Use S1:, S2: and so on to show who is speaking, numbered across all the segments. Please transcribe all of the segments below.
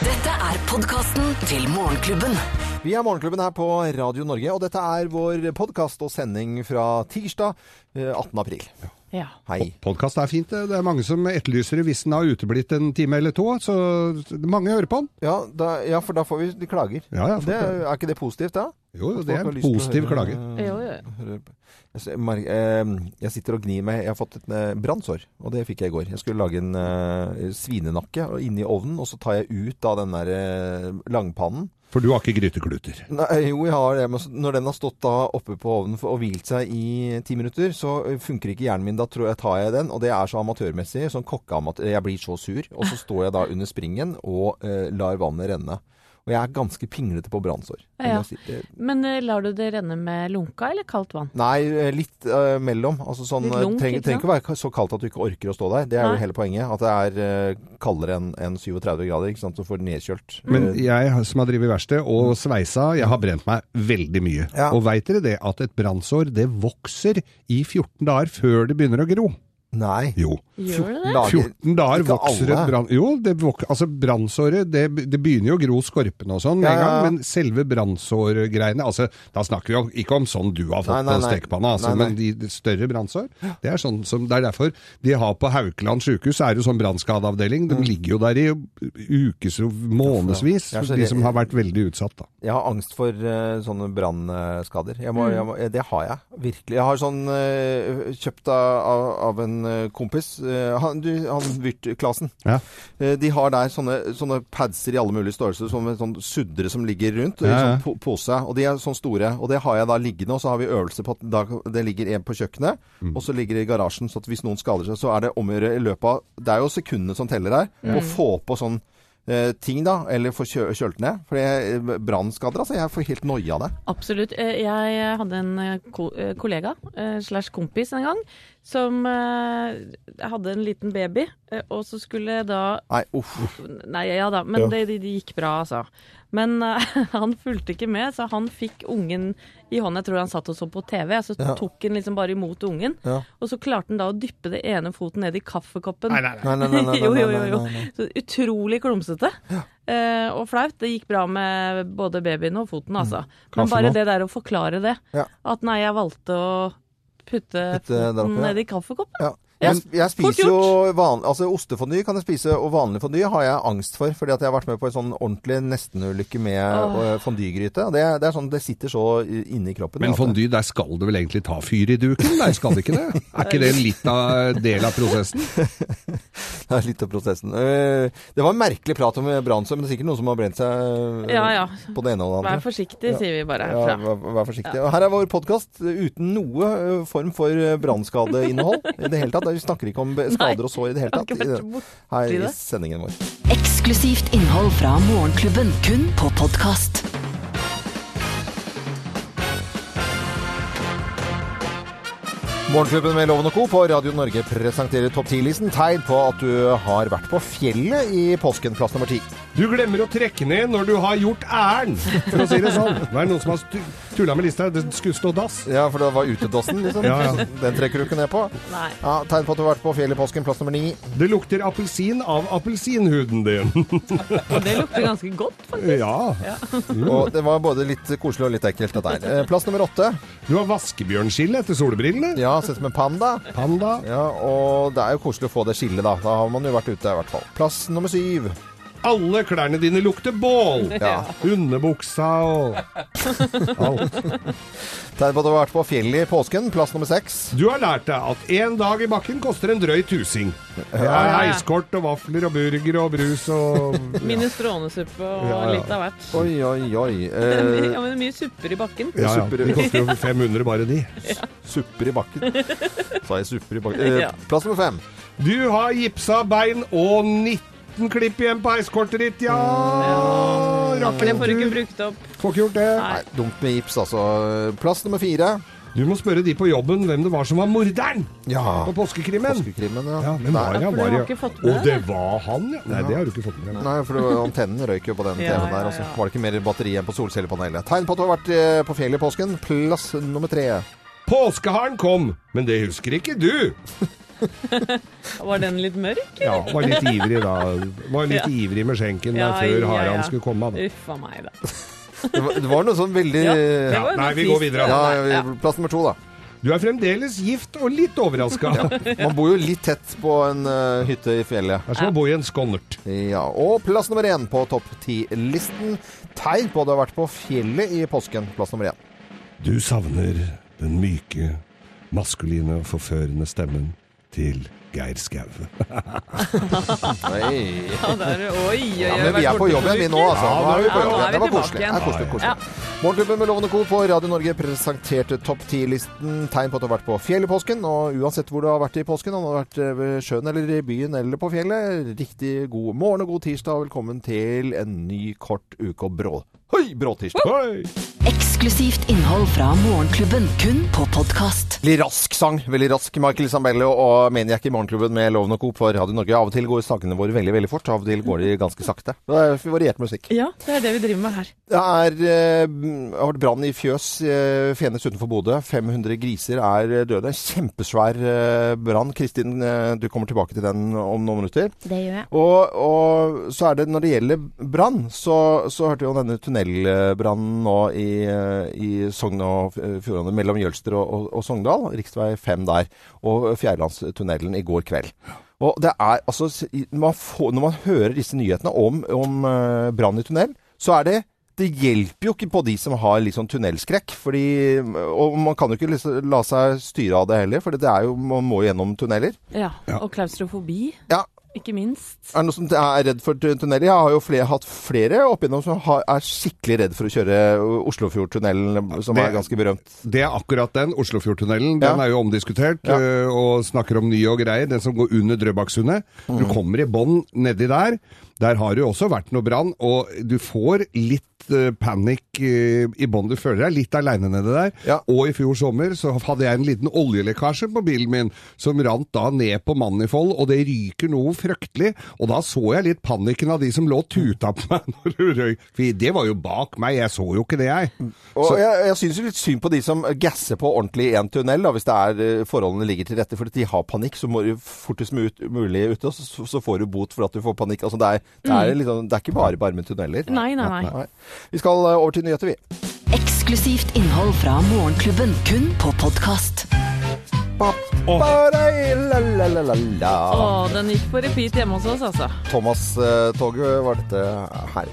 S1: er podkasten til Morgenklubben.
S2: Vi er Morgenklubben her på Radio Norge, og dette er vår podkast og sending fra tirsdag eh, 18. april.
S3: Ja.
S2: Hei.
S4: Podkast er fint. Det Det er mange som etterlyser det hvis den har uteblitt en time eller to. Så mange hører på den.
S2: Ja, da, ja, for da får vi de klager.
S4: Ja, ja, folk
S2: det, er
S4: klager.
S2: er ikke det positivt, da?
S4: Jo, jo,
S2: At
S4: det
S2: folk
S4: er
S2: har
S4: en
S2: lyst til å
S4: positiv
S2: høre-
S4: klage.
S3: Jo, jo.
S2: høre på. Jeg, ser- mer- eh, jeg sitter og gnir meg. Jeg har fått et eh, brannsår, og det fikk jeg i går. Jeg skulle lage en eh, svinenakke og inni ovnen, og så tar jeg ut da den der eh, langpannen.
S4: For du har ikke grytekluter.
S2: Nei, jo, jeg har det. Men når den har stått da oppe på ovnen for, og hvilt seg i ti minutter, så funker ikke hjernen min. Da tror jeg tar jeg den, og det er så amatørmessig. Sånn kokkeamatør. Jeg blir så sur. Og så står jeg da under springen og eh, lar vannet renne. Og jeg er ganske pinglete på brannsår. må
S3: Ja.
S2: jeg si. Eh,
S3: Men eh, lar du det renne med lunka eller kaldt vann?
S2: Nei, eh, litt eh, mellom. Altså sånn,
S3: Litt lunk,
S2: eh, trenger,
S3: ikke
S2: trenger ikke å være ka- så kaldt at du ikke orker å stå der. Det er
S3: Nei.
S2: jo hele poenget. At det er eh, kaldere enn enn 37 grader, ikke sant. Så får du nedkjølt.
S4: Men
S2: Eh,
S4: jeg som har drevet verksted og sveisa, jeg har brent meg veldig mye.
S2: Ja.
S4: Og veit dere det at et brannsår det vokser i 14 dager før det begynner å gro?
S2: nei.
S4: Jo.
S3: Gjør det det?
S2: Lager-
S4: 14 dager
S2: Ikke
S4: vokser et
S2: alle.
S4: brann... Jo, det vok altså brannsåret det, det begynner jo å gro skorpene og sånn med
S2: Ja,
S4: en
S2: ja, ja.
S4: gang, men selve brannsårgreiene altså, Da snakker vi jo ikke om sånn du har
S2: Nei,
S4: fått
S2: nei,
S4: på
S2: nei.
S4: stekepanna, altså,
S2: Nei, nei.
S4: men de de større brannsår det, er sånn som- det er derfor de har på Haukeland sjukehus er det jo sånn brannskadeavdeling. De ligger jo der i ukes og
S2: Mm.
S4: månedsvis,
S2: Ja, så
S4: de
S2: det-
S4: som har vært veldig utsatt. da.
S2: Jeg har angst for eh, sånne brannskader. Jeg må- jeg må- eh, Det har jeg, virkelig. Jeg har sånn eh, kjøpt av, av- av en eh, kompis, eh, han, du, han Vyrt Klasen.
S4: Ja.
S2: Eh, de har der sånne, sånne padser i alle mulige størrelser, sånne, sånne suddere som ligger rundt, i
S4: Ja, ja.
S2: sånn po pose. Og de er sånn store. Og det har jeg da liggende, og så har vi øvelse på at da, det ligger en på kjøkkenet,
S4: Mm.
S2: og så ligger det i garasjen. Så at hvis noen skader seg, så er det om å gjøre i løpet av Det er jo sekundene som teller her. Å få på sånn eh, ting, da, eller få kjø kjølt ned. For jeg- eh, brannskader, altså. Jeg får helt noia av det.
S3: Absolutt. Eh, Jeg hadde en eh, ko- eh, kollega eh, slash kompis en gang som eh, hadde en liten baby, eh, og så skulle da
S2: Nei, uff.
S3: Nei, ja da, men
S2: Ja.
S3: Det, det, det gikk bra, altså. Men eh, han fulgte ikke med, så han fikk ungen i hånda. Jeg tror han satt og så på TV, så
S2: Ja.
S3: tok han liksom bare imot ungen.
S2: Ja.
S3: Og så klarte han da å dyppe det ene foten ned i kaffekoppen.
S2: Nei, nei, nei. nei, nei,
S3: jo, jo, jo,
S2: nei,
S3: jo.
S2: nei, nei.
S3: Så utrolig klumsete eh, og flaut. Det gikk bra med både babyen og foten, altså.
S4: Kaffe
S3: Men bare
S4: nå.
S3: det der å forklare det.
S2: Mm. Ja.
S3: At nei, jeg valgte å putte
S2: Putte der
S3: foten
S2: oppe, ja.
S3: ned i kaffekoppen.
S2: Ja. Jeg, jeg
S3: Fort
S2: spiser jo van, altså ostefondue kan jeg spise, og vanlig fondue har jeg angst for. Fordi at jeg har vært med på en sånn ordentlig nestenulykke med oh. fondygryte. Og det, det er sånn, det sitter så inni kroppen.
S4: Men
S2: at det-
S4: fondy, der skal du vel egentlig ta fyr i duken? Der skal det ikke det? Er ikke det litt av del av prosessen?
S2: Det er litt av prosessen. Eh, Det var en merkelig prat om brannsøm. Det er sikkert noen som har brent seg eh,
S3: Ja, ja.
S2: på det ene og det andre.
S3: Vær forsiktig, sier vi bare
S2: Ja,
S3: herfra.
S2: vær, vær forsiktig. Og Her er vår podkast uten noe ø, form for ø, brannskadeinnhold i det hele tatt. Vi snakker ikke om be- skader og sår i det hele
S3: jeg har
S2: tatt
S3: ikke
S2: i
S3: vært
S2: det-
S3: borti
S2: her i
S3: det.
S2: sendingen vår.
S1: Eksklusivt innhold fra Morgenklubben, kun på podkast.
S2: Morgenklubben med Loven og Co. på Radio Norge presenterer Topp 10-listen. Tegn på at du har vært på fjellet i påsken, plass nummer ti.
S4: Du glemmer å trekke ned når du har gjort æren, for å si det sånn. Det er noen som har stu- tulla med lista. Det skulle stå dass.
S2: Ja, for det var utedassen, liksom.
S4: Ja, ja.
S2: Den trekker du ikke ned på.
S3: Nei.
S2: Ja, tegn på at du har vært på fjellet i påsken, plass nummer ni.
S4: Det lukter appelsin av appelsinhuden din.
S3: Og det lukter ganske godt, faktisk.
S4: Ja. Mm.
S2: Og det var både litt koselig og litt ekkelt, dette her. Eh, Plass nummer åtte.
S4: Du har vaskebjørnskille etter solbrillene.
S2: Ja, sett som en panda.
S4: Panda.
S2: Ja, og det er jo koselig å få det skillet, da. Da har man jo vært ute, i hvert fall. Plass nummer syv.
S4: Alle klærne dine lukter bål.
S2: Ja.
S4: Hundebuksa og alt.
S2: Tegn på at du har vært på fjellet i påsken. Plass nummer seks.
S4: Du har lært deg at én dag i bakken koster en drøy tusing. Det er heiskort og vafler og burger og brus og
S3: Minus strånesuppe og
S4: Ja, ja.
S3: litt av hvert.
S2: Oi, oi, oi.
S3: Det er
S2: Eh,
S3: mye- ja, men det er mye supper i bakken.
S4: ja, ja.
S2: Supper.
S4: Det koster jo 500 bare de.
S2: supper i bakken. Sa jeg supper i bakken? Eh,
S3: Ja.
S2: plass nummer fem.
S4: Du har gipsa bein og 19 klipp igjen på heiskortet ditt, ja!
S3: Mm.
S4: Rakk
S3: For det
S4: en
S3: får du ikke
S4: tur.
S3: brukt opp.
S4: Får ikke gjort det.
S3: Nei.
S2: Nei, dumt med gips, altså. Plass nummer fire.
S4: Du må spørre de på jobben hvem det var som var morderen
S2: Ja.
S4: på påskekrimmen.
S2: Påskekrimmen,
S4: Ja,
S2: ja.
S4: men var
S3: Ja,
S4: ja,
S3: for
S4: var
S3: du har
S4: ja.
S3: ikke fått med
S4: Og
S3: deg
S4: det var han, ja. Nei, det har du ikke fått med deg.
S2: Nei, for det var- antennen røyk jo på den
S3: Ja,
S2: TV-en der.
S3: ja,
S2: Og så
S3: ja.
S2: var det ikke mer batteri enn på solcellepanelet. Tegn på at du har vært eh, på fjellet i påsken. Plass nummer tre.
S4: Påskeharen kom, men det husker ikke du.
S3: Var den litt mørk?
S4: Ja, var litt ivrig da. Var litt
S3: Ja.
S4: ivrig med skjenken der
S3: Ja,
S4: før
S3: ja,
S4: Haran
S3: ja.
S4: skulle komme. Da.
S3: Uff a meg, da.
S2: Det var, det var noe sånn veldig
S3: Ja, det
S2: ja,
S3: var jo
S4: nei,
S3: noe
S4: vi går
S3: trist.
S4: videre.
S2: ja, Plass nummer to, da.
S4: Du er fremdeles gift og litt overraska. Det
S2: Man bor jo litt tett på en eh, hytte i fjellet.
S4: er som å bo i en skonnert.
S2: Ja, Og plass nummer én på topp ti-listen. Tegn på at du har vært på fjellet i påsken. Plass nummer én.
S4: Du savner den myke, maskuline og forførende stemmen til Geir Skau.
S2: Ja,
S3: Ja, der, oi, oi, oi,
S2: men vi er på jobb igjen, vi nå, altså. Nå
S4: Ja,
S2: er vi på
S3: nå
S2: jobb igjen.
S3: er vi
S2: Det var
S3: tilbake
S2: koselig. Det
S3: igjen.
S2: er koselig,
S3: Ja.
S2: koselig. Morgenklubben med Lovende Co. på Radio Norge presenterte topp ti-listen tegn på at du har vært på fjellet i påsken. Og uansett hvor du har vært i påsken, om du har vært eh, ved sjøen eller i byen eller på fjellet, riktig god morgen og god tirsdag, og velkommen til en ny kort uke og brå... Hoi, bråtirsdag!
S4: Oi!
S1: Eksklusivt innhold fra Morgenklubben, kun på podkast.
S2: Veldig rask sang. Veldig rask Michael Sambello og Maniac i Morgenklubben med Loven og Co. på Radio Norge. Av og til går sakene våre veldig veldig fort, av og til går de ganske sakte. Det er variert musikk.
S3: Ja, det er det vi driver med her.
S2: Det er, eh, har vært brann i fjøs eh, Fenes utenfor Bodø. 500 griser er eh, døde. Kjempesvær eh, brann. Kristin, eh, du kommer tilbake til den om noen minutter.
S5: Det gjør jeg.
S2: Og, og så er det når det gjelder brann, så, så hørte vi om denne tunnelbrannen nå i, eh, i Sogn og eh, Fjordane, mellom Jølster og, og, og Sogndal, rv. 5 der, og Fjærlandstunnelen i går kveld. Og det er altså s- i- man får, Når man hører disse nyhetene om, om eh, brann i tunnel, så er det det hjelper jo ikke på de som har litt sånn tunnelskrekk. Fordi, og man kan jo ikke liksom la seg styre av det heller, for det er jo, man må jo gjennom tunneler.
S3: Ja,
S4: Ja.
S3: Og klaustrofobi,
S2: Ja,
S3: ikke minst.
S2: er det noen som er redd for tun- tunneler? Jeg har jo flere, hatt flere opp igjennom som har, er skikkelig redd for å kjøre Oslofjordtunnelen, som
S4: Det-
S2: er ganske berømt.
S4: Det er akkurat den. Oslofjordtunnelen den
S2: Ja.
S4: er jo omdiskutert
S2: Ja.
S4: øh, og snakker om nye og greier. Den som går under Drøbaksundet. Du
S2: Mm.
S4: kommer i bånn nedi der. Der har det jo også vært noe brann, og du får litt øh, panikk øh, i bånn. Du føler deg litt aleine nedi der.
S2: Ja.
S4: Og i fjor sommer så hadde jeg en liten oljelekkasje på bilen min, som rant da ned på Manifold, og det ryker noe fryktelig. Og da så jeg litt panikken av de som lå og tuta på meg når du røyk. For det var jo bak meg, jeg så jo ikke det, jeg.
S2: Og
S4: Så-
S2: jeg, jeg syns jo litt synd på de som gasser på ordentlig i en tunnel, da, hvis det er eh, forholdene ligger til rette for at de har panikk, så må du fortest mu- mulig ute, og så, så får du bot for at du får panikk. Altså, det, er, det, er liksom, det er ikke bare bare med tunneler.
S3: Nei, nei, nei.
S2: Nei. Vi skal eh, over til nyheter, vi.
S1: Eksklusivt innhold fra Morgenklubben, kun på podkast.
S2: Ba- ba-dei, la, la, la, la, la.
S3: Å, den gikk på repeat hjemme hos oss, altså.
S2: Thomas-toget eh, var dette her.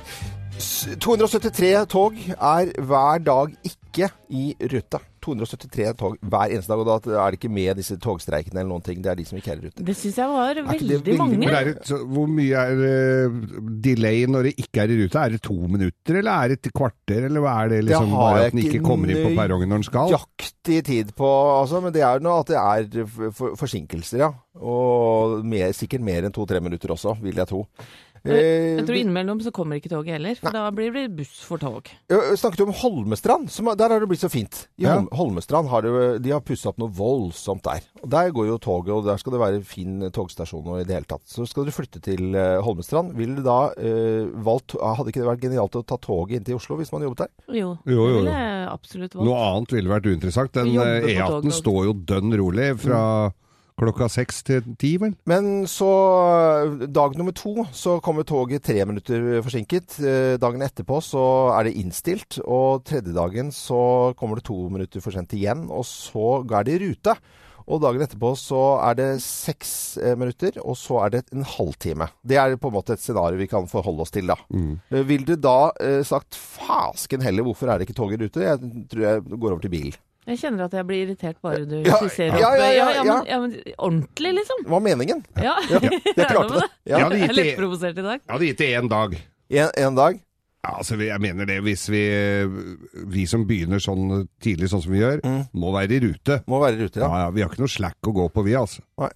S2: S- 273 tog er hver dag ikke i rute. 273 tog hver eneste dag, og da er det ikke med disse togstreikene eller noen ting. Det er de som ikke er i rute.
S3: Det syns jeg var
S2: ikke
S3: veldig
S2: det veldig
S4: Men
S3: mange.
S4: er det, så, hvor mye er eh, delay når det ikke er i rute? Er det to minutter, eller er det et kvarter, eller hva er det liksom?
S2: Det har
S4: Bare
S2: jeg
S4: at den ikke
S2: ikke
S4: kommer inn på
S2: nøy-
S4: perrongen når den skal?
S2: Jaktig tid på, altså, men det er jo noe at det er f- for, forsinkelser, ja. Og mer, sikkert mer enn to-tre minutter også, vil jeg tro. Eh,
S3: Jeg tror innimellom så kommer ikke toget heller, for da blir det buss for tog.
S2: Jeg eh, snakket jo om Holmestrand. Som, er- der har det blitt så fint. I
S4: Ja.
S2: Holm, Holmestrand har det, eh, de har pussa opp noe voldsomt der. Og Der går jo toget, og der skal det være fin eh, togstasjon og i det hele tatt. Så skal du flytte til eh, Holmestrand. Ville du da eh, valgt Hadde ikke det vært genialt å ta toget inn til Oslo hvis man jobbet der?
S3: Jo,
S4: Jo, jo, jo.
S3: det ville jeg absolutt valgt.
S4: Noe annet ville vært uinteressant. Den
S3: Jobbe
S4: eh,
S3: på
S4: E18
S3: toget.
S4: står jo dønn rolig fra klokka seks til ti, vel?
S2: Men så eh, Dag nummer to så kommer toget tre minutter forsinket. Eh, Dagen etterpå så er det innstilt. Og tredje dagen så kommer det to minutter for sent igjen, og så er det i rute. Og dagen etterpå så er det seks eh, minutter, og så er det en halvtime. Det er på en måte et scenario vi kan forholde oss til, da. Eh, Vil du da eh, sagt fasken heller, hvorfor er det ikke tog i rute? Jeg tror jeg går over til bil.
S3: Jeg kjenner at jeg blir irritert bare du
S2: Ja,
S3: skisserer
S2: ja,
S3: opp
S2: ja, ja,
S3: men, ja, men ordentlig, liksom.
S2: Hva var meningen?
S3: Ja,
S2: Jeg klarte det. Ja.
S4: Ja,
S3: Jeg
S4: det gikk
S3: er litt
S4: i-
S3: provosert i dag.
S4: Ja, det gikk til én dag.
S2: En, en dag.
S4: Ja, altså vi- Jeg mener det, hvis vi, vi som begynner sånn tidlig sånn som vi gjør, må være i rute.
S2: Må være i rute, ja.
S4: Ja, ja, Vi har ikke noe slack å gå på, vi altså.
S2: Nei.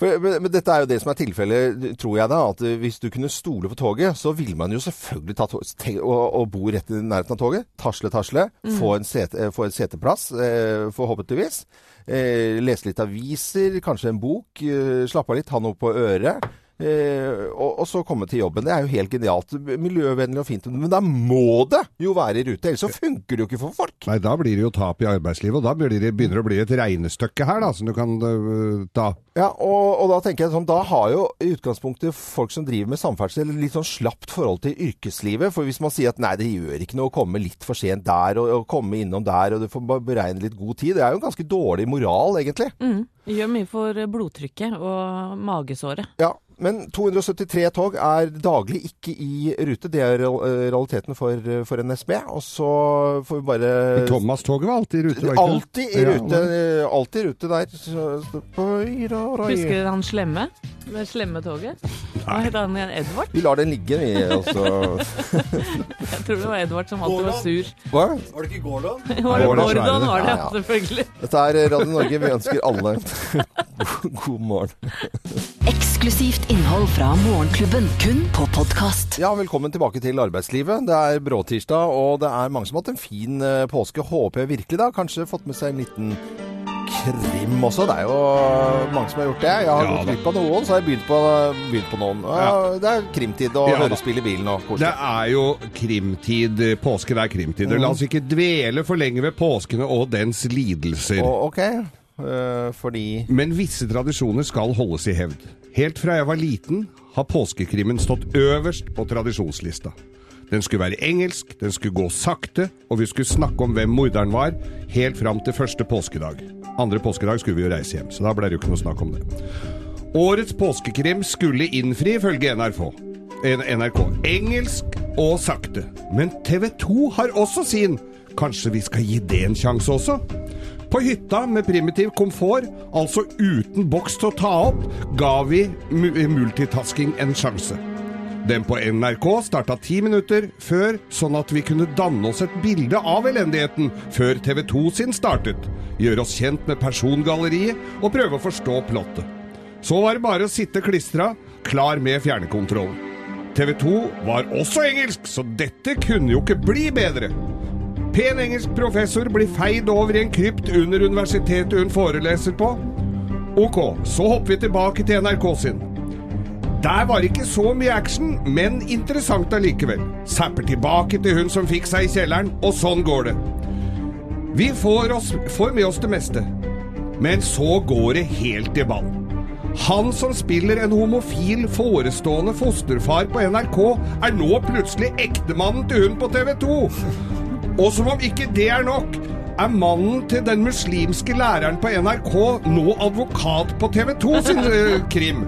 S2: For, men, men dette er jo det som er tilfellet, tror jeg da, at eh, hvis du kunne stole på toget, så ville man jo selvfølgelig ta tog, te- og, og bo rett i nærheten av toget. Tasle, tasle. Få, en sete, eh, få en seteplass, eh, forhåpentligvis. Eh, lese litt aviser, kanskje en bok. Eh, slappe av litt, ha noe på øret. eh, og, og så komme til jobben. Det er jo helt genialt. Miljøvennlig og fint. Men da må det jo være i rute, ellers så funker det jo ikke for folk.
S4: Nei, da blir det jo tap i arbeidslivet, og da blir det, begynner det å bli et regnestykke her, da, som du kan øh, ta.
S2: Ja, og, og da tenker jeg sånn, da har jo i utgangspunktet folk som driver med samferdsel litt sånn slapt forhold til yrkeslivet. For hvis man sier at nei, det gjør ikke noe å komme litt for sent der, og, og komme innom der, og du får bare beregne litt god tid, det er jo en ganske dårlig moral, egentlig.
S3: Gjør mye for blodtrykket og magesåret.
S2: Ja, men 273 tog er daglig ikke i rute. Det er real- eh, realiteten for, eh, for NSB. Og så får vi bare
S4: Thomas-toget var alltid i rute, var ikke det?
S2: Eh, Alltid i rute. eh, Alltid i rute der. Så- så- oi, ra, ra,
S3: Husker
S2: i.
S3: dere han slemme? Det slemme toget? Hva het han igjen? Edvard?
S2: Vi lar den ligge, vi. Altså.
S3: Jeg tror det var Edvard som alltid var sur.
S2: Hva?
S5: Var det ikke Gorlon?
S3: Var det
S4: Gordon
S3: Gordon
S4: Sverre?
S3: var det,
S2: Ja, ja.
S3: selvfølgelig.
S2: Dette er Radio Norge. Vi ønsker alle god, god morgen.
S1: Eksklusivt innhold fra Morgenklubben, kun på podkast.
S2: Ja, velkommen tilbake til arbeidslivet. Det er bråtirsdag, og det er mange som har hatt en fin eh, påske. Håper jeg virkelig da. Kanskje fått med seg en liten krim også. Det er jo mange som har gjort det. Jeg har
S4: Ja,
S2: gått
S4: da.
S2: glipp av noen, så har jeg begynt på, begynt på noen. Ja,
S4: Ja.
S2: Det er krimtid og
S4: Ja, da.
S2: hørespill i bilen og
S4: Det
S2: koselig.
S4: er jo krimtid. Påsken er krimtid. La oss ikke dvele for lenge ved påskene og dens lidelser.
S2: Og, ok, eh, fordi
S4: Men visse tradisjoner skal holdes i hevd. Helt fra jeg var liten, har påskekrimmen stått øverst på tradisjonslista. Den skulle være engelsk, den skulle gå sakte, og vi skulle snakke om hvem morderen var, helt fram til første påskedag. Andre påskedag skulle vi jo reise hjem, så da ble det jo ikke noe snakk om det. Årets påskekrim skulle innfri, ifølge NRK. En- NRK. Engelsk og sakte. Men TV 2 har også sin. Kanskje vi skal gi det en sjanse også? På hytta med primitiv komfort, altså uten boks til å ta opp, ga vi mu- multitasking en sjanse. Den på NRK starta ti minutter før, sånn at vi kunne danne oss et bilde av elendigheten før TV 2 sin startet, gjøre oss kjent med persongalleriet og prøve å forstå plottet. Så var det bare å sitte klistra, klar med fjernkontrollen. TV 2 var også engelsk, så dette kunne jo ikke bli bedre. Pen engelsk professor blir feid over i en krypt under universitetet hun foreleser på. Ok, så hopper vi tilbake til NRK sin. Der var ikke så mye action, men interessant allikevel. Zapper tilbake til hun som fikk seg i kjelleren, og sånn går det. Vi får, oss, får med oss det meste, men så går det helt i ball. Han som spiller en homofil forestående fosterfar på NRK, er nå plutselig ektemannen til hun på TV 2. Og som om ikke det er nok, er mannen til den muslimske læreren på NRK nå advokat på TV 2 sin eh, krim.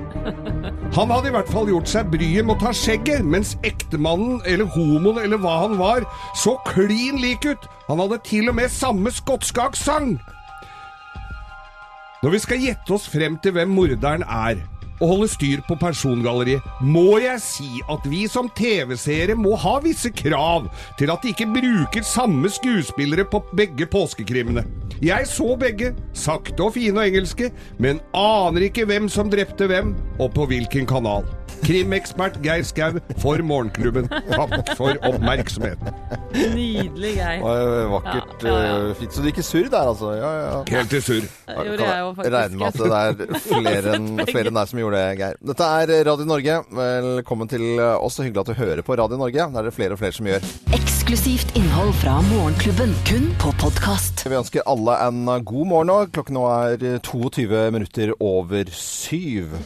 S4: Han hadde i hvert fall gjort seg bryet med å ta skjegget, mens ektemannen, eller homoen, eller hva han var, så klin lik ut. Han hadde til og med samme skotske aksent. Når vi skal gjette oss frem til hvem morderen er, og holde styr på persongalleriet, må jeg si at vi som TV-seere må ha visse krav til at de ikke bruker samme skuespillere på begge påskekrimene. Jeg så begge, sakte og fine og engelske, men aner ikke hvem som drepte hvem, og på hvilken kanal. Krimekspert Geir Skau for Morgenklubben. Takk for oppmerksomheten.
S3: Nydelig Geir.
S2: Oi, vakkert.
S3: Ja, ja, ja.
S2: eh, Fint. Så du er ikke surr der, altså? Ja, ja.
S4: Helt til surr.
S3: Det gjorde jeg jo faktisk.
S2: regner med at det er flere enn flere enn deg som gjorde det, Geir. Dette er Radio Norge. Velkommen til oss. Så hyggelig at du hører på Radio Norge. Det er det flere og flere som gjør.
S1: Eksklusivt innhold fra Morgenklubben, kun på podkast.
S2: Vi ønsker alle en god morgen nå. Klokken nå er 22 minutter over syv.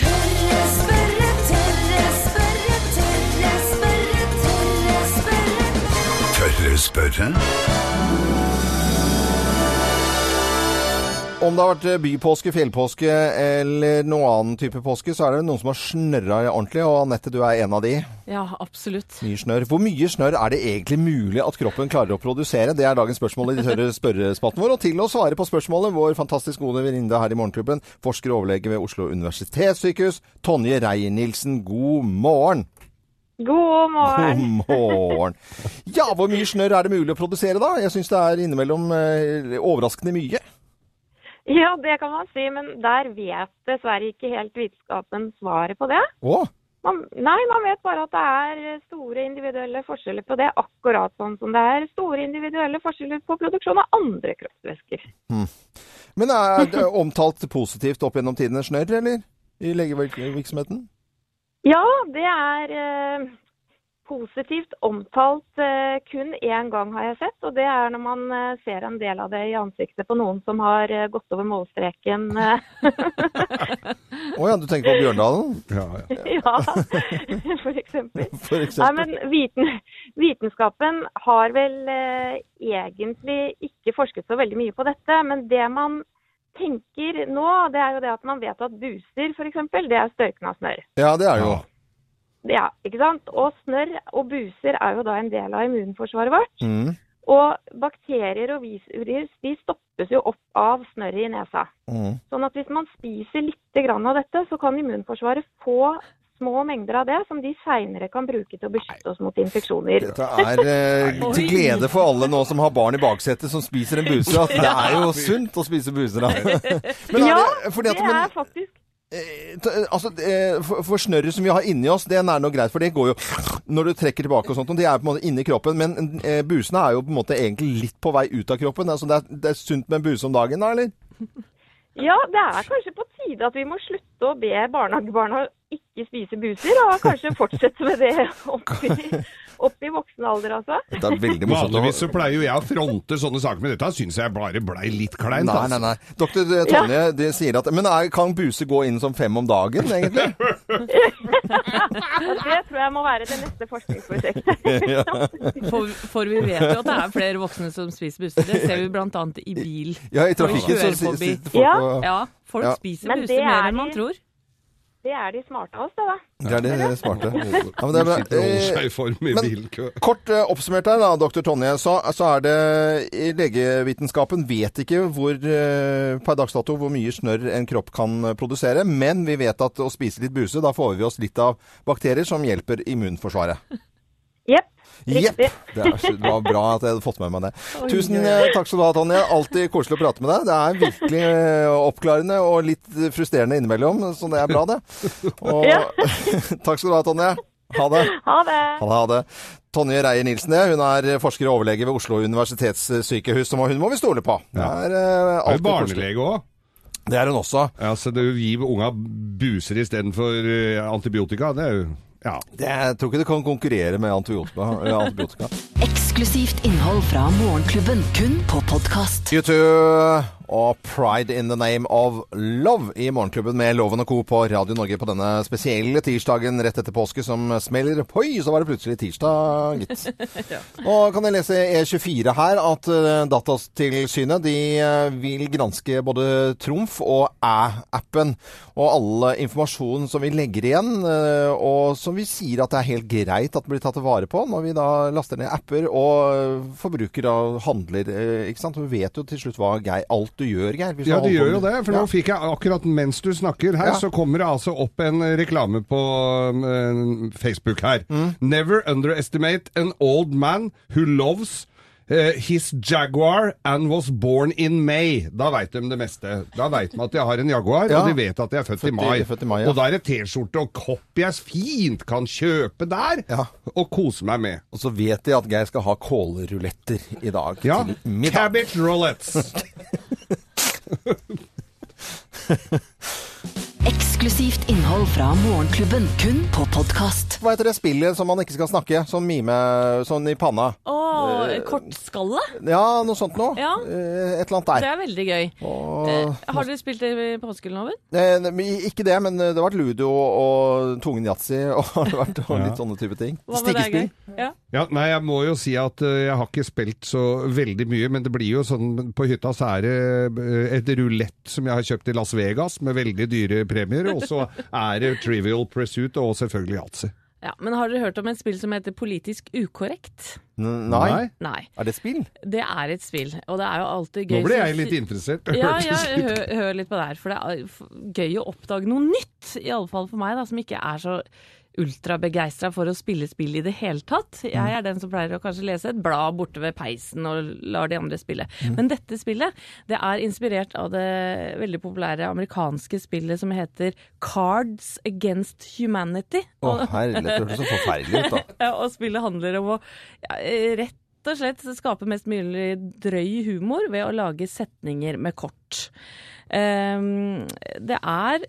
S6: Tørre spørre, tørre spørre, tørre spørre, tørre spørre.
S5: Tørre spørre?
S2: Om det har vært bypåske, fjellpåske eller noen annen type påske, så er det noen som har snørra ordentlig. Og Anette, du er en av de.
S3: Ja, absolutt.
S2: Mye snørr. Hvor mye snørr er det egentlig mulig at kroppen klarer å produsere? Det er dagens spørsmål i tørre spørrespalten vår. Og til å svare på spørsmålet, vår fantastisk gode venninne her i Morgenklubben, forsker og overlege ved Oslo universitetssykehus, Tonje Reier-Nilsen. God morgen!
S7: God morgen.
S2: God morgen. Ja, hvor mye snørr er det mulig å produsere da? Jeg syns det er innimellom eh, overraskende mye.
S7: Ja, det kan man si, men der vet dessverre ikke helt vitenskapen svaret på det.
S2: Å,
S7: Man, nei, man vet bare at det er store individuelle forskjeller på det, akkurat sånn som det er store individuelle forskjeller på produksjon av andre kroppsvæsker.
S2: Men er det omtalt positivt opp gjennom tidene, snørr, eller? i legevirksomheten?
S7: Ja, det er eh, positivt omtalt eh, kun én gang, har jeg sett. Og det er når man eh, ser en del av det i ansiktet på noen som har eh, gått over målstreken. Eh,
S2: Å ja, du tenker på Bjørndalen,
S4: Ja, ja.
S7: ja, for eksempel.
S2: for
S7: Nei,
S2: eksempel?
S7: men viten, vitenskapen har vel eh, egentlig ikke forsket så veldig mye på dette. Men det man tenker nå, det er jo det at man vet at buser, f.eks., det er størkna snørr.
S2: Ja, det er det jo.
S7: Ja, ikke sant? Og snørr og buser er jo da en del av immunforsvaret vårt.
S2: Mm.
S7: Og bakterier og virus de stoppes jo opp av snørret i nesa.
S2: Mm.
S7: Sånn at hvis man spiser litt grann av dette, så kan immunforsvaret få små mengder av det som de seinere kan bruke til å beskytte oss mot infeksjoner.
S2: Dette er eh, til glede for alle nå som har barn i baksetet som spiser en buse. At det er jo sunt å spise buser, da. Men
S7: Ja,
S2: det, fordi
S7: Det
S2: at- men-
S7: er faktisk
S2: Eh, ta- eh, altså, eh, for, for snørret som vi har inni oss, den er nå greit, for det går jo når du trekker tilbake og sånt, og det er på en måte inni kroppen, men eh, busene er jo på en måte egentlig litt på vei ut av kroppen. Altså, det, er, det er sunt med en buse om dagen, da, eller?
S7: Ja, det er kanskje på tide at vi må slutte å be barnehagebarna ikke spise buser, og kanskje fortsette med det opp i, opp i voksen alder, altså.
S2: Det er veldig morsomt. å-
S4: Vanligvis så pleier jo jeg å fronte sånne saker, men dette syns jeg bare blei litt kleint.
S2: Nei, nei,
S4: altså.
S2: nei. Doktor eh, Tonje de sier at Men er, kan buse gå inn som fem om dagen, egentlig?
S7: Og det tror jeg må være det neste forskningsprosjektet.
S3: For, for vi vet jo at det er flere voksne som spiser busser. Det ser vi bl.a. i bil.
S2: Ja, i trafikken så
S3: Kjører
S2: si-
S3: forbi.
S2: sitter folk
S7: Ja.
S2: og
S3: Ja, folk
S2: Ja.
S3: spiser
S7: Men det
S3: busser mer
S7: er
S3: enn man
S7: de-
S3: tror.
S7: Det er de smarte av oss, det da.
S2: Det er det eh, smarte. Ja, men det er
S4: Du
S2: bra.
S4: sitter og holder
S2: Eh,
S4: seg i form i
S2: men-
S4: bilkø.
S2: Kort eh, oppsummert her, da, doktor Tonje, så, så er det i legevitenskapen vet ikke hvor, eh, per dags dato hvor mye snørr en kropp kan eh, produsere, men vi vet at å spise litt buse, da får vi oss litt av bakterier som hjelper immunforsvaret.
S7: Jepp.
S2: Jepp!
S7: Riktig.
S2: Det, er så- det var bra at jeg hadde fått med meg det. Tusen eh, takk skal du ha, Tonje. Alltid koselig å prate med deg. Det er virkelig eh, oppklarende og litt eh, frustrerende innimellom, så det er bra, det. Og,
S7: Ja.
S2: takk skal du ha, Tonje. Ha det.
S7: Ha det.
S2: Ha det, ha det. Tonje Reier Nilsen, det. hun er forsker og overlege ved Oslo universitetssykehus, som hun må vi stole på. Det
S4: Ja.
S2: er, eh,
S4: Er
S2: alltid koselig.
S4: du barnelege òg?
S2: Det er hun også.
S4: Ja, så du gir unga buser istedenfor eh, antibiotika? Det er jo Ja.
S2: Det, jeg tror ikke det kan konkurrere med antibiotika. eh, antibiotika.
S1: Eksklusivt innhold fra Morgenklubben, kun på podkast.
S2: U2 og Pride in the Name of Love i Morgenklubben med Loven og Co. på Radio Norge på denne spesielle tirsdagen rett etter påske som smeller. Hoi, så var det plutselig tirsdag, gitt. Nå kan jeg lese E24 her at eh, Datatilsynet de eh, vil granske både Trumf og Æ-appen og alle informasjon som vi legger igjen, eh, og som vi sier at det er helt greit at blir tatt vare på når vi da laster ned apper og eh, forbruker og handler. eh, Ikke sant? Vi vet jo til slutt hva Geir, alt du gjør, Geir. hvis du
S4: Ja,
S2: har holdt på
S4: de gjør jo
S2: med-
S4: det. For nå fikk jeg akkurat mens du snakker her,
S2: Ja.
S4: så kommer det altså opp en reklame på eh, Facebook her.
S2: Mm.
S4: Never underestimate an old man who loves eh, his Jaguar and was born in May. Da veit de det meste. Da veit de at de har en Jaguar,
S2: Ja.
S4: og de vet at de er født,
S2: Født i-
S4: i mai.
S2: født i mai, ja.
S4: Og da er det T-skjorte og kopp jeg fint kan kjøpe der,
S2: Ja.
S4: og kose meg med.
S2: Og så vet de at Geir skal ha kålruletter i dag
S4: Ja,
S2: til middag.
S4: cabbage rollets.
S1: Eksklusivt innhold fra Morgenklubben, kun på podkast.
S2: Hva heter det spillet som man ikke skal snakke? Sånn mime, sånn i panna.
S3: Å, kortskalle!
S2: Ja, noe sånt noe.
S3: Ja.
S2: Eh, Et eller annet
S3: Det
S2: der.
S3: er veldig gøy. Eh, Har dere spilt det i påskeloven?
S2: Eh, ne- men ikke det, men eh, det har vært ludo og tungen yatzy og, har det vært, og litt sånne type ting.
S3: Hva med deg,
S2: Stikkespill.
S3: Geir? Ja.
S4: Ja, nei, jeg må jo si at eh, jeg har ikke spilt så veldig mye, men det blir jo sånn På hytta så er det eh, et rulett som jeg har kjøpt i Las Vegas med veldig dyre premier, og så er det Trivial Pursuit og selvfølgelig Yatzy.
S3: ja. Men har dere hørt om et spill som heter Politisk ukorrekt?
S2: N- Nei.
S3: Nei.
S2: Er det spill?
S3: Det er et spill, og det er jo alltid gøy.
S4: Nå ble
S3: så-
S4: jeg litt interessert. det
S3: Ja,
S4: hørtes
S3: ja,
S4: ut.
S3: hør, hør litt på det her. For det er f- gøy å oppdage noe nytt, i alle fall for meg, da, som ikke er så ultrabegeistra for å spille spill i det hele tatt. Jeg er den som pleier å kanskje lese et blad borte ved peisen og lar de andre spille.
S4: Mm.
S3: Men dette spillet det er inspirert av det veldig populære amerikanske spillet som heter Cards Against Humanity.
S2: Å, herlighet, det hørtes så forferdelig ut, da.
S3: Ja, og spillet handler om å ja, rett og slett skape mest mulig drøy humor ved å lage setninger med kort. Ehm, det er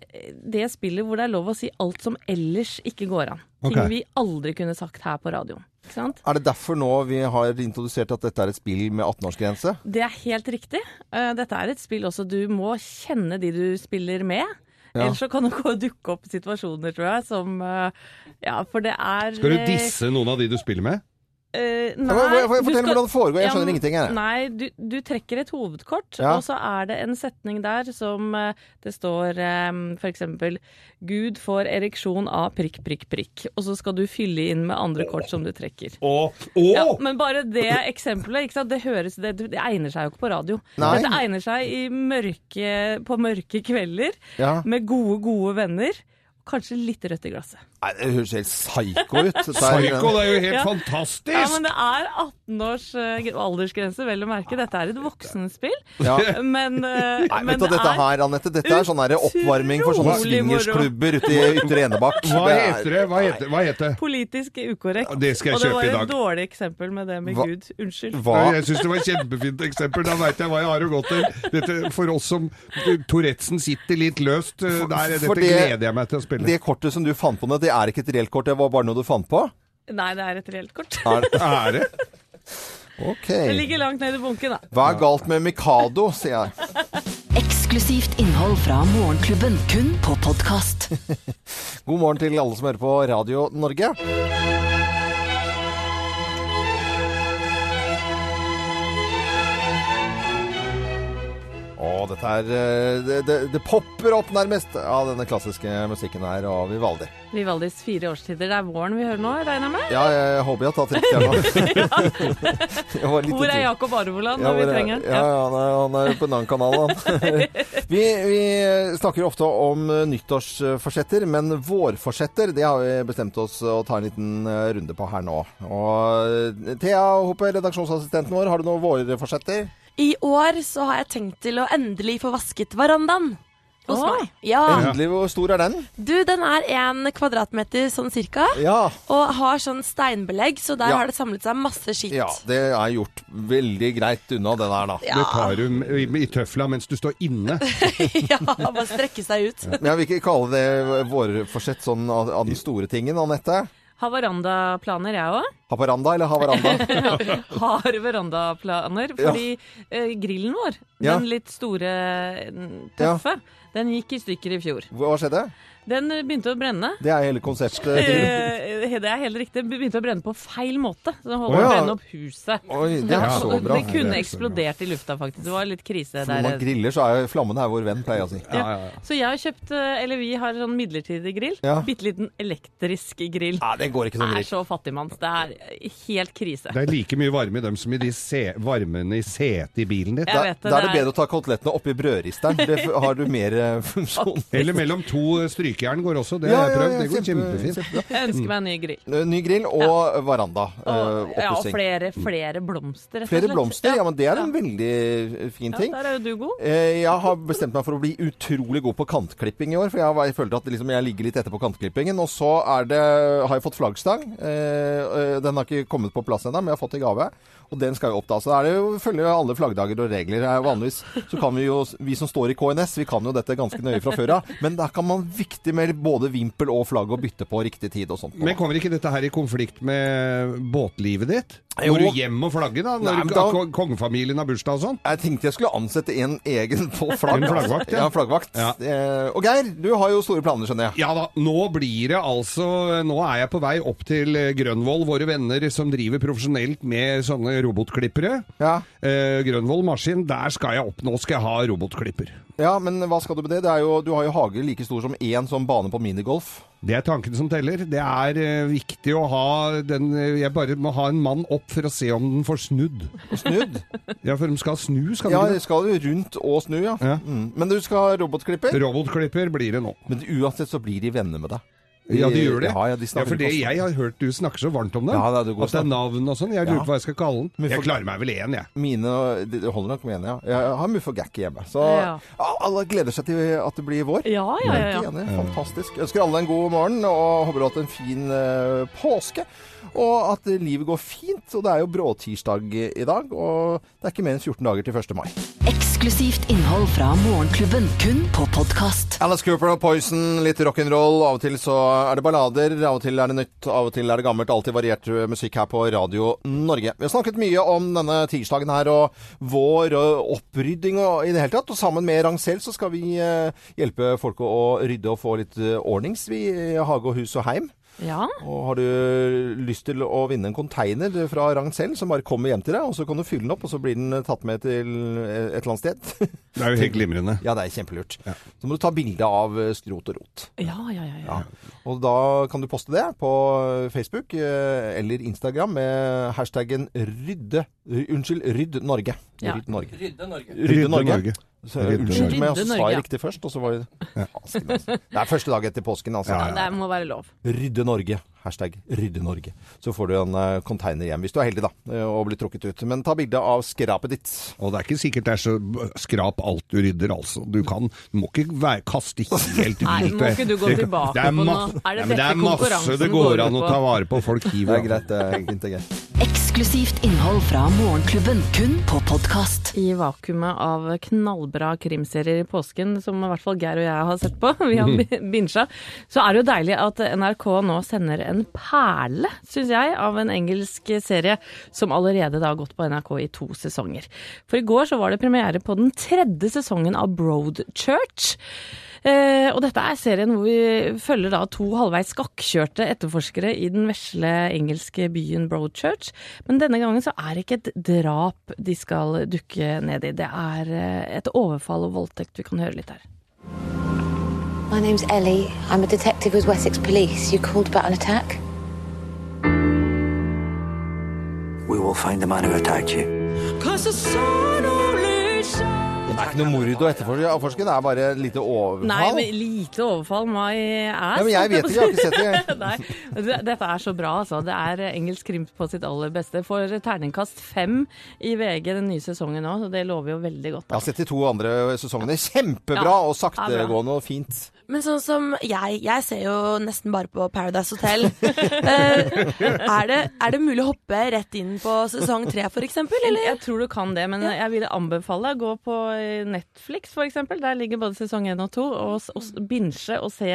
S3: det spillet hvor det er lov å si alt som ellers ikke går an.
S4: Ok.
S3: Ting vi aldri kunne sagt her på radioen. Ikke sant?
S2: Er det derfor nå vi har introdusert at dette er et spill med 18-årsgrense?
S3: Det er helt riktig. Eh, Dette er et spill også du må kjenne de du spiller med. Ellers så kan det gå- dukke opp situasjoner, tror jeg, som eh, Ja, for det er
S4: Skal du
S3: eh,
S4: disse noen av de du spiller med?
S3: eh,
S2: Ja, men- men-
S3: nei,
S2: men
S3: du
S2: Fortell
S3: skal-
S2: hvordan det foregår. Jeg
S3: Ja,
S2: skjønner
S3: men-
S2: ingenting, jeg.
S3: Nei, du, du trekker et hovedkort,
S2: Ja.
S3: og så er det en setning der som eh, det står eh, for eksempel Gud får ereksjon av prikk, prikk, prikk. Og så skal du fylle inn med andre kort som du trekker.
S4: Å!
S3: Ja, men bare det eksempelet, ikke sant? Det, høres, det, det egner seg jo ikke på radio.
S2: Nei.
S3: Dette egner seg i mørke, på mørke kvelder
S2: Ja.
S3: med gode, gode venner. Kanskje litt rødt i glasset.
S2: Nei, det høres helt psyko ut. Det er-
S4: Psycho, det er jo helt
S3: Ja.
S4: fantastisk!
S3: Ja, men det er 18 års eh, aldersgrense, vel å merke. Dette er et voksenspill.
S2: Ja.
S3: Men, eh,
S2: Nei,
S3: men
S2: vet du,
S3: det
S2: dette
S3: er
S2: her, Anette, dette er sånn her oppvarming for sånne
S3: utrolig moro.
S2: swingersklubber ute i Ytre Enebakk.
S4: Hva
S2: Det er-
S4: heter det? Hva heter, hva heter det?
S3: politisk ukorrekt.
S4: Ja, det skal jeg
S3: og det
S4: kjøpe
S3: var
S4: i
S3: jo
S4: dag.
S3: et dårlig eksempel med det med
S2: Hva-
S3: Gud. Unnskyld.
S4: Nei,
S2: Hva?
S4: Jeg syns det var et kjempefint eksempel. Da veit jeg hva jeg har å gå til. Dette, for oss som Touretzen sitter litt løst, eh, der, dette
S2: for det-
S4: gleder jeg meg til å spille.
S2: Det kortet som du fant på nå, det er ikke et reelt kort, det var bare noe du fant på?
S3: Nei, det er et reelt kort.
S2: Er det?
S4: Er det?
S3: Det
S2: Ok.
S3: ligger langt nede i bunken, da.
S2: Hva er galt med Mikado, sier jeg.
S1: Eksklusivt innhold fra Morgenklubben, kun på podkast.
S2: God morgen til alle som hører på Radio Norge. Å, dette er eh, det, det, det popper opp nærmest av denne klassiske musikken her av Vivaldi.
S3: Vivaldis fire årstider. Det er våren vi hører nå, regner jeg med?
S2: Ja, jeg håper jeg har tatt riktig her nå. Jeg var litt i
S3: Hvor er
S2: tvil.
S3: Jakob Arvoland
S2: Ja,
S3: når vi
S2: hvor er-
S3: trenger
S2: Ja,
S3: ham?
S2: ja, han, er, han er på en annen kanal, han. vi, vi snakker ofte om eh, nyttårsforsetter, men vårforsetter det har vi bestemt oss å ta en liten eh, runde på her nå. Og eh, Thea Hoppe, redaksjonsassistenten vår, har du noen vårforsetter?
S8: I år så har jeg tenkt til å endelig få vasket verandaen hos
S3: Åh.
S8: meg. Ja,
S2: Endelig, hvor stor er den?
S8: du, den er en kvadratmeter sånn cirka,
S2: Ja.
S8: og har sånn steinbelegg, så der
S2: Ja.
S8: har det samlet seg masse skitt.
S2: ja, det er gjort veldig greit unna den her, da.
S8: ja,
S4: Det tar du i, i tøfla mens du står inne.
S8: ja, bare strekke seg ut.
S2: Men jeg vil ikke kalle det vårforsett sånn av, av den store tingen, Anette.
S3: Har verandaplaner, jeg òg.
S2: Haparanda eller Havaranda?
S3: Har verandaplaner. Fordi eh, grillen vår,
S2: Ja.
S3: den litt store, den tøffe, den gikk i stykker i fjor.
S2: Hva skjedde?
S3: Den begynte å brenne.
S2: Det er hele konseptet. til-
S3: Eh, Det er helt riktig. Begynte å brenne på feil måte. Så den
S2: Å,
S3: holdt på å
S2: ja.
S3: brenne opp huset.
S2: Oi, det er
S4: Ja.
S2: så bra.
S3: Det
S4: Det
S3: kunne
S4: er så bra.
S3: eksplodert i lufta, faktisk. Det var litt krise
S2: Når man
S3: der.
S2: griller, så er jo flammene er vår venn, pleier jeg å si.
S4: Ja, ja, ja.
S3: Så jeg har kjøpt, eh, eller vi har sånn midlertidig grill.
S2: Ja. Ah,
S3: Bitte liten elektrisk grill.
S2: Nei, det går ikke
S3: Det
S2: som
S3: er
S2: grill.
S3: så fattigmanns. Det er eh, helt krise.
S4: Det er like mye varme i dem som i de se, varmene i setet i bilen din.
S3: Jeg
S2: Da,
S3: vet det,
S2: da er det
S3: det er-
S2: bedre å ta kotelettene oppi brødristeren. Det f- har du mer eh, funksjon.
S4: Eller mellom to strykejern går også. Det
S2: Ja,
S4: har jeg
S2: ja,
S4: prøvd.
S2: ja,
S4: Det går
S2: kjempe-
S4: kjempefint.
S3: Jeg ønsker meg en ny grill.
S2: Eh, Ny grill og veranda.
S3: Og,
S2: Mm. eh,
S3: ja, og
S2: Oppussing.
S3: flere, flere blomster, rett og
S2: Flere
S3: slett.
S2: blomster. Ja, men det er en veldig fin
S3: Ja,
S2: ting.
S3: der er jo du god.
S2: Eh, Jeg har bestemt meg for å bli utrolig god på kantklipping i år. For jeg, har, jeg følte at liksom, jeg ligger litt etter på kantklippingen. Og så er det, har jeg fått flaggstang. Eh, eh, Den har ikke kommet på plass ennå, men jeg har fått i gave. Og den skal jo opp da. Så da er det jo, følger jo alle flaggdager og regler. Eh, Vanligvis så kan vi jo, vi som står i KNS, vi kan jo dette ganske nøye fra før av. Men der kan man viktig med både vimpel og flagg og bytte på riktig tid og sånt.
S4: Men kommer ikke dette her i konflikt med båtlivet ditt?
S2: Jo.
S4: Går du hjem og flagger da?
S2: Nei,
S4: Når
S2: men da-
S4: ko- kongefamilien har bursdag og sånn?
S2: Jeg tenkte jeg skulle ansette en egen på flagg.
S4: En flaggvakt,
S2: ja.
S4: ja.
S2: flaggvakt.
S4: Ja.
S2: Eh, Og Geir, du har jo store planer, skjønner jeg.
S4: Ja da, nå blir det altså Nå er jeg på vei opp til eh, Grønvoll, våre venner som driver profesjonelt med sånne robotklippere.
S2: Ja.
S4: Eh, Grønvoll Maskin, der skal jeg opp. Nå skal jeg ha robotklipper.
S2: Ja, men hva skal du med det? det er jo, du har jo hage like stor som én sånn bane på minigolf.
S4: Det er tanken som teller. Det er eh, viktig å ha den eh, Jeg bare må ha en mann opp for å se om den får snudd.
S2: Og snudd.
S4: Ja, for de skal snu, skal de
S2: Ja,
S4: ikke
S2: det skal jo rundt og snu, ja.
S4: Ja.
S2: Mm. Men du skal ha robotklipper?
S4: det? Robotklipper blir det nå.
S2: Men uansett så blir de venner med deg.
S4: Ja, de gjør det.
S2: Ja, ja, de
S4: Ja,
S2: snakker
S4: for det
S2: ikke
S4: jeg har hørt du snakker så varmt om dem.
S2: Ja, det er det gode
S4: at det er
S2: snakk.
S4: navn og sånn. Jeg lurer
S2: Ja.
S4: på hva jeg skal kalle
S2: Men
S4: den. Jeg
S2: for-
S4: klarer meg vel én, jeg.
S2: Mine det det holder nok med henne, ja. Jeg har muffe og gacky hjemme. Så
S3: Ja.
S2: Ja, alle gleder seg til at det blir vår.
S3: Ja, ja, ja. ja.
S2: Helt enig. Fantastisk. Ønsker alle en god morgen og håper du har hatt en fin eh, påske. og at livet går fint. Og det er jo bråtirsdag i dag, og det er ikke mer enn 14 dager til 1. mai.
S1: Eksklusivt innhold fra Morgenklubben, kun på podkast.
S2: Alice Cooper og Poison, litt rock'n'roll. Av og til så er det ballader, av og til er det nytt, av og til er det gammelt. Alltid variert eh, musikk her på Radio Norge. Vi har snakket mye om denne tirsdagen her og vår og opprydding og i det hele tatt. Og sammen med Rangsel så skal vi eh, hjelpe folk å å rydde og få litt eh, ordnings vi i hage og hus og heim.
S3: Ja.
S2: Og har du eh, lyst til å vinne en container fra Rangsel som bare kommer hjem til deg, og så kan du fylle den opp, og så blir den eh, tatt med til eh, et eller annet sted.
S4: Det er jo helt glimrende.
S2: Ja, det er kjempelurt. Så må du ta bilde av eh, skrot og rot.
S3: Ja, ja, ja, ja.
S2: Og da kan du poste det på Facebook eh, eller Instagram med hashtaggen rydde... ry- Unnskyld, rydd Norge.
S3: Ja.
S2: Rydd Norge.
S9: Rydde Norge.
S2: Rydde Norge. Så,
S4: Rydde
S2: unnskyld
S3: Norge.
S2: meg, og så
S3: Rydde
S2: sa jeg
S3: Norge.
S2: riktig først, og så var det Asken, altså. Det er første dag etter påsken, altså.
S4: Ja,
S3: Det må være lov.
S2: Rydde Norge. Hashtag rydde Norge. Så får du en eh, container hjem, hvis du er heldig, da, eh, og blir trukket ut. Men ta bilde av skrapet ditt.
S4: Og det er ikke sikkert det er så skrap alt du rydder, altså. Du kan Du må ikke være, kaste helt
S3: Nei,
S4: vilt.
S3: må ikke du gå
S4: Det-
S3: tilbake
S4: det er
S3: på noe.
S4: ma-
S3: Er det
S4: Nei, men
S3: dette
S4: det er masse
S3: konkurransen
S4: det går
S3: går
S4: an
S3: ut
S4: å
S3: på?
S4: ta vare på. Folk hiver av.
S2: det er fint, det er greit.
S1: Eksklusivt innhold fra Morgenklubben, kun på podkast.
S3: I vakuumet av knallbra krimserier i påsken, som i hvert fall Geir og jeg har sett på, vi har bi- binsja, så er det jo deilig at NRK nå sender en perle, syns jeg, av en engelsk serie som allerede da har gått på NRK i to sesonger. For i går så var det premiere på den tredje sesongen av Broadchurch. Eh, og dette er serien hvor vi følger da to halvveis skakkjørte etterforskere i den vesle engelske byen Broadchurch. Men denne gangen så er det ikke et drap de skal dukke ned i. Det er eh, et overfall og voldtekt. Vi kan høre litt her.
S10: My name's Ellie. I'm a detective with Wessex Police. You called about an attack?
S9: We will find the man who attacked you.
S2: Det er ikke noe mord å etterforske, etterforske, det er bare et lite overfall.
S3: Nei, men lite overfall, my ass.
S2: Ja, men jeg vet ikke, jeg har ikke sett det, jeg.
S3: Nei, det- dette er så bra, altså. Det er engelsk krim på sitt aller beste. Får terningkast fem i VG den nye sesongen nå, så det lover jo veldig godt.
S2: Jeg
S3: Da.
S2: har sett de to andre sesongene. Kjempebra
S3: Ja,
S2: og
S3: det er bra.
S2: saktegående og fint.
S8: Men sånn som jeg, jeg ser jo nesten bare på Paradise Hotel. Eh, er, det, er det mulig å hoppe rett inn på sesong tre, for eksempel? Eller?
S3: Jeg tror du kan det, men jeg ville anbefale å gå på eh, Netflix f.eks. Der ligger både sesong 1 og 2, og, s- og s- binge og se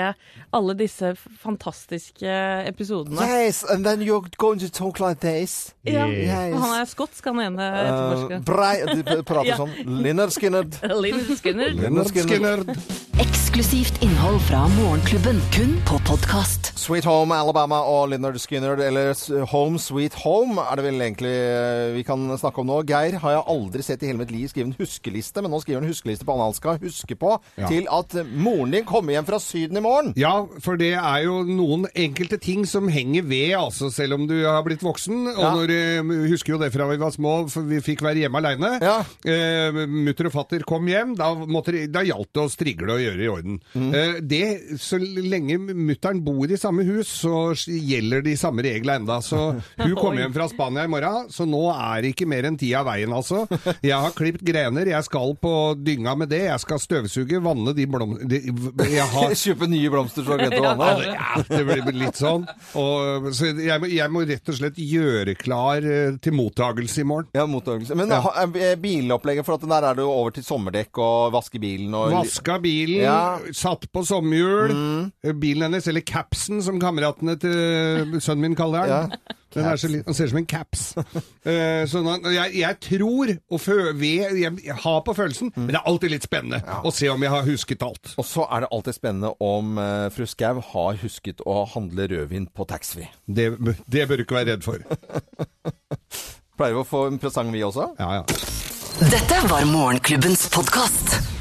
S3: alle disse f- fantastiske episodene.
S2: Yes, and then you're going to talk like this.
S3: Ja.
S2: Yes.
S3: Han er skotsk, han ene
S2: Uh,
S3: etterforskeren.
S2: brei, du prater
S3: Ja.
S2: sånn. Linner Skinnerd.
S3: Linn Skinner.
S2: Leonard Skinner.
S4: Skinner.
S1: Eksklusivt innhold fra Morgenklubben, kun på podkast.
S2: Sweet Home Alabama og Leonard Skinner, eller s- Home Sweet Home er det vel egentlig eh, vi kan snakke om nå. Geir har jeg aldri sett i hele mitt liv skrive en huskeliste, men nå skriver han en huskeliste på hva han skal huske på
S4: Ja.
S2: til at eh, moren din kommer hjem fra Syden i morgen.
S4: Ja, for det er jo noen enkelte ting som henger ved, altså, selv om du har blitt voksen. Og
S2: Ja.
S4: når, eh, vi husker jo det fra vi var små, for vi fikk være hjemme aleine.
S2: Ja.
S4: Eh, Mutter og fatter kom hjem, da, måtte, de- da gjaldt det å strigle og gjøre i orden.
S2: Mm.
S4: Eh, det, så lenge mutter'n bor i samme hus, så gjelder de samme reglene enda. Så hun kom hjem fra Spania i morgen, så nå er det ikke mer enn tida veien, altså. Jeg har klipt grener, jeg skal på dynga med det, jeg skal støvsuge, vanne de blomstene Jeg har
S2: Kjøpe nye blomster så glemte å vanne.
S4: ja, det blir litt sånn. Og, så jeg, må- jeg må rett og slett gjøre klar eh, til mottagelse i morgen.
S2: Ja, motorøvelse. Men ha- er bilopplegget, for at der er det jo over til sommerdekk og vaske bilen og
S4: Vaska bilen,
S2: Ja.
S4: satt på sommerhjul. Eh, Bilen hennes, eller capsen som kameratene til eh, sønnen min kaller den. Den er så, li- han ser ut som en caps. Eh, så nå- jeg, jeg tror og fø, ved, jeg, jeg har på følelsen, men det er alltid litt spennende å se om jeg har husket alt.
S2: Og så er det alltid spennende om eh, fru Skau har husket å handle rødvin på taxfree.
S4: Det, det bør du ikke være redd for.
S2: Pleier vi å få en presang, vi også?
S4: Ja, ja.
S1: Dette var Morgenklubbens podkast.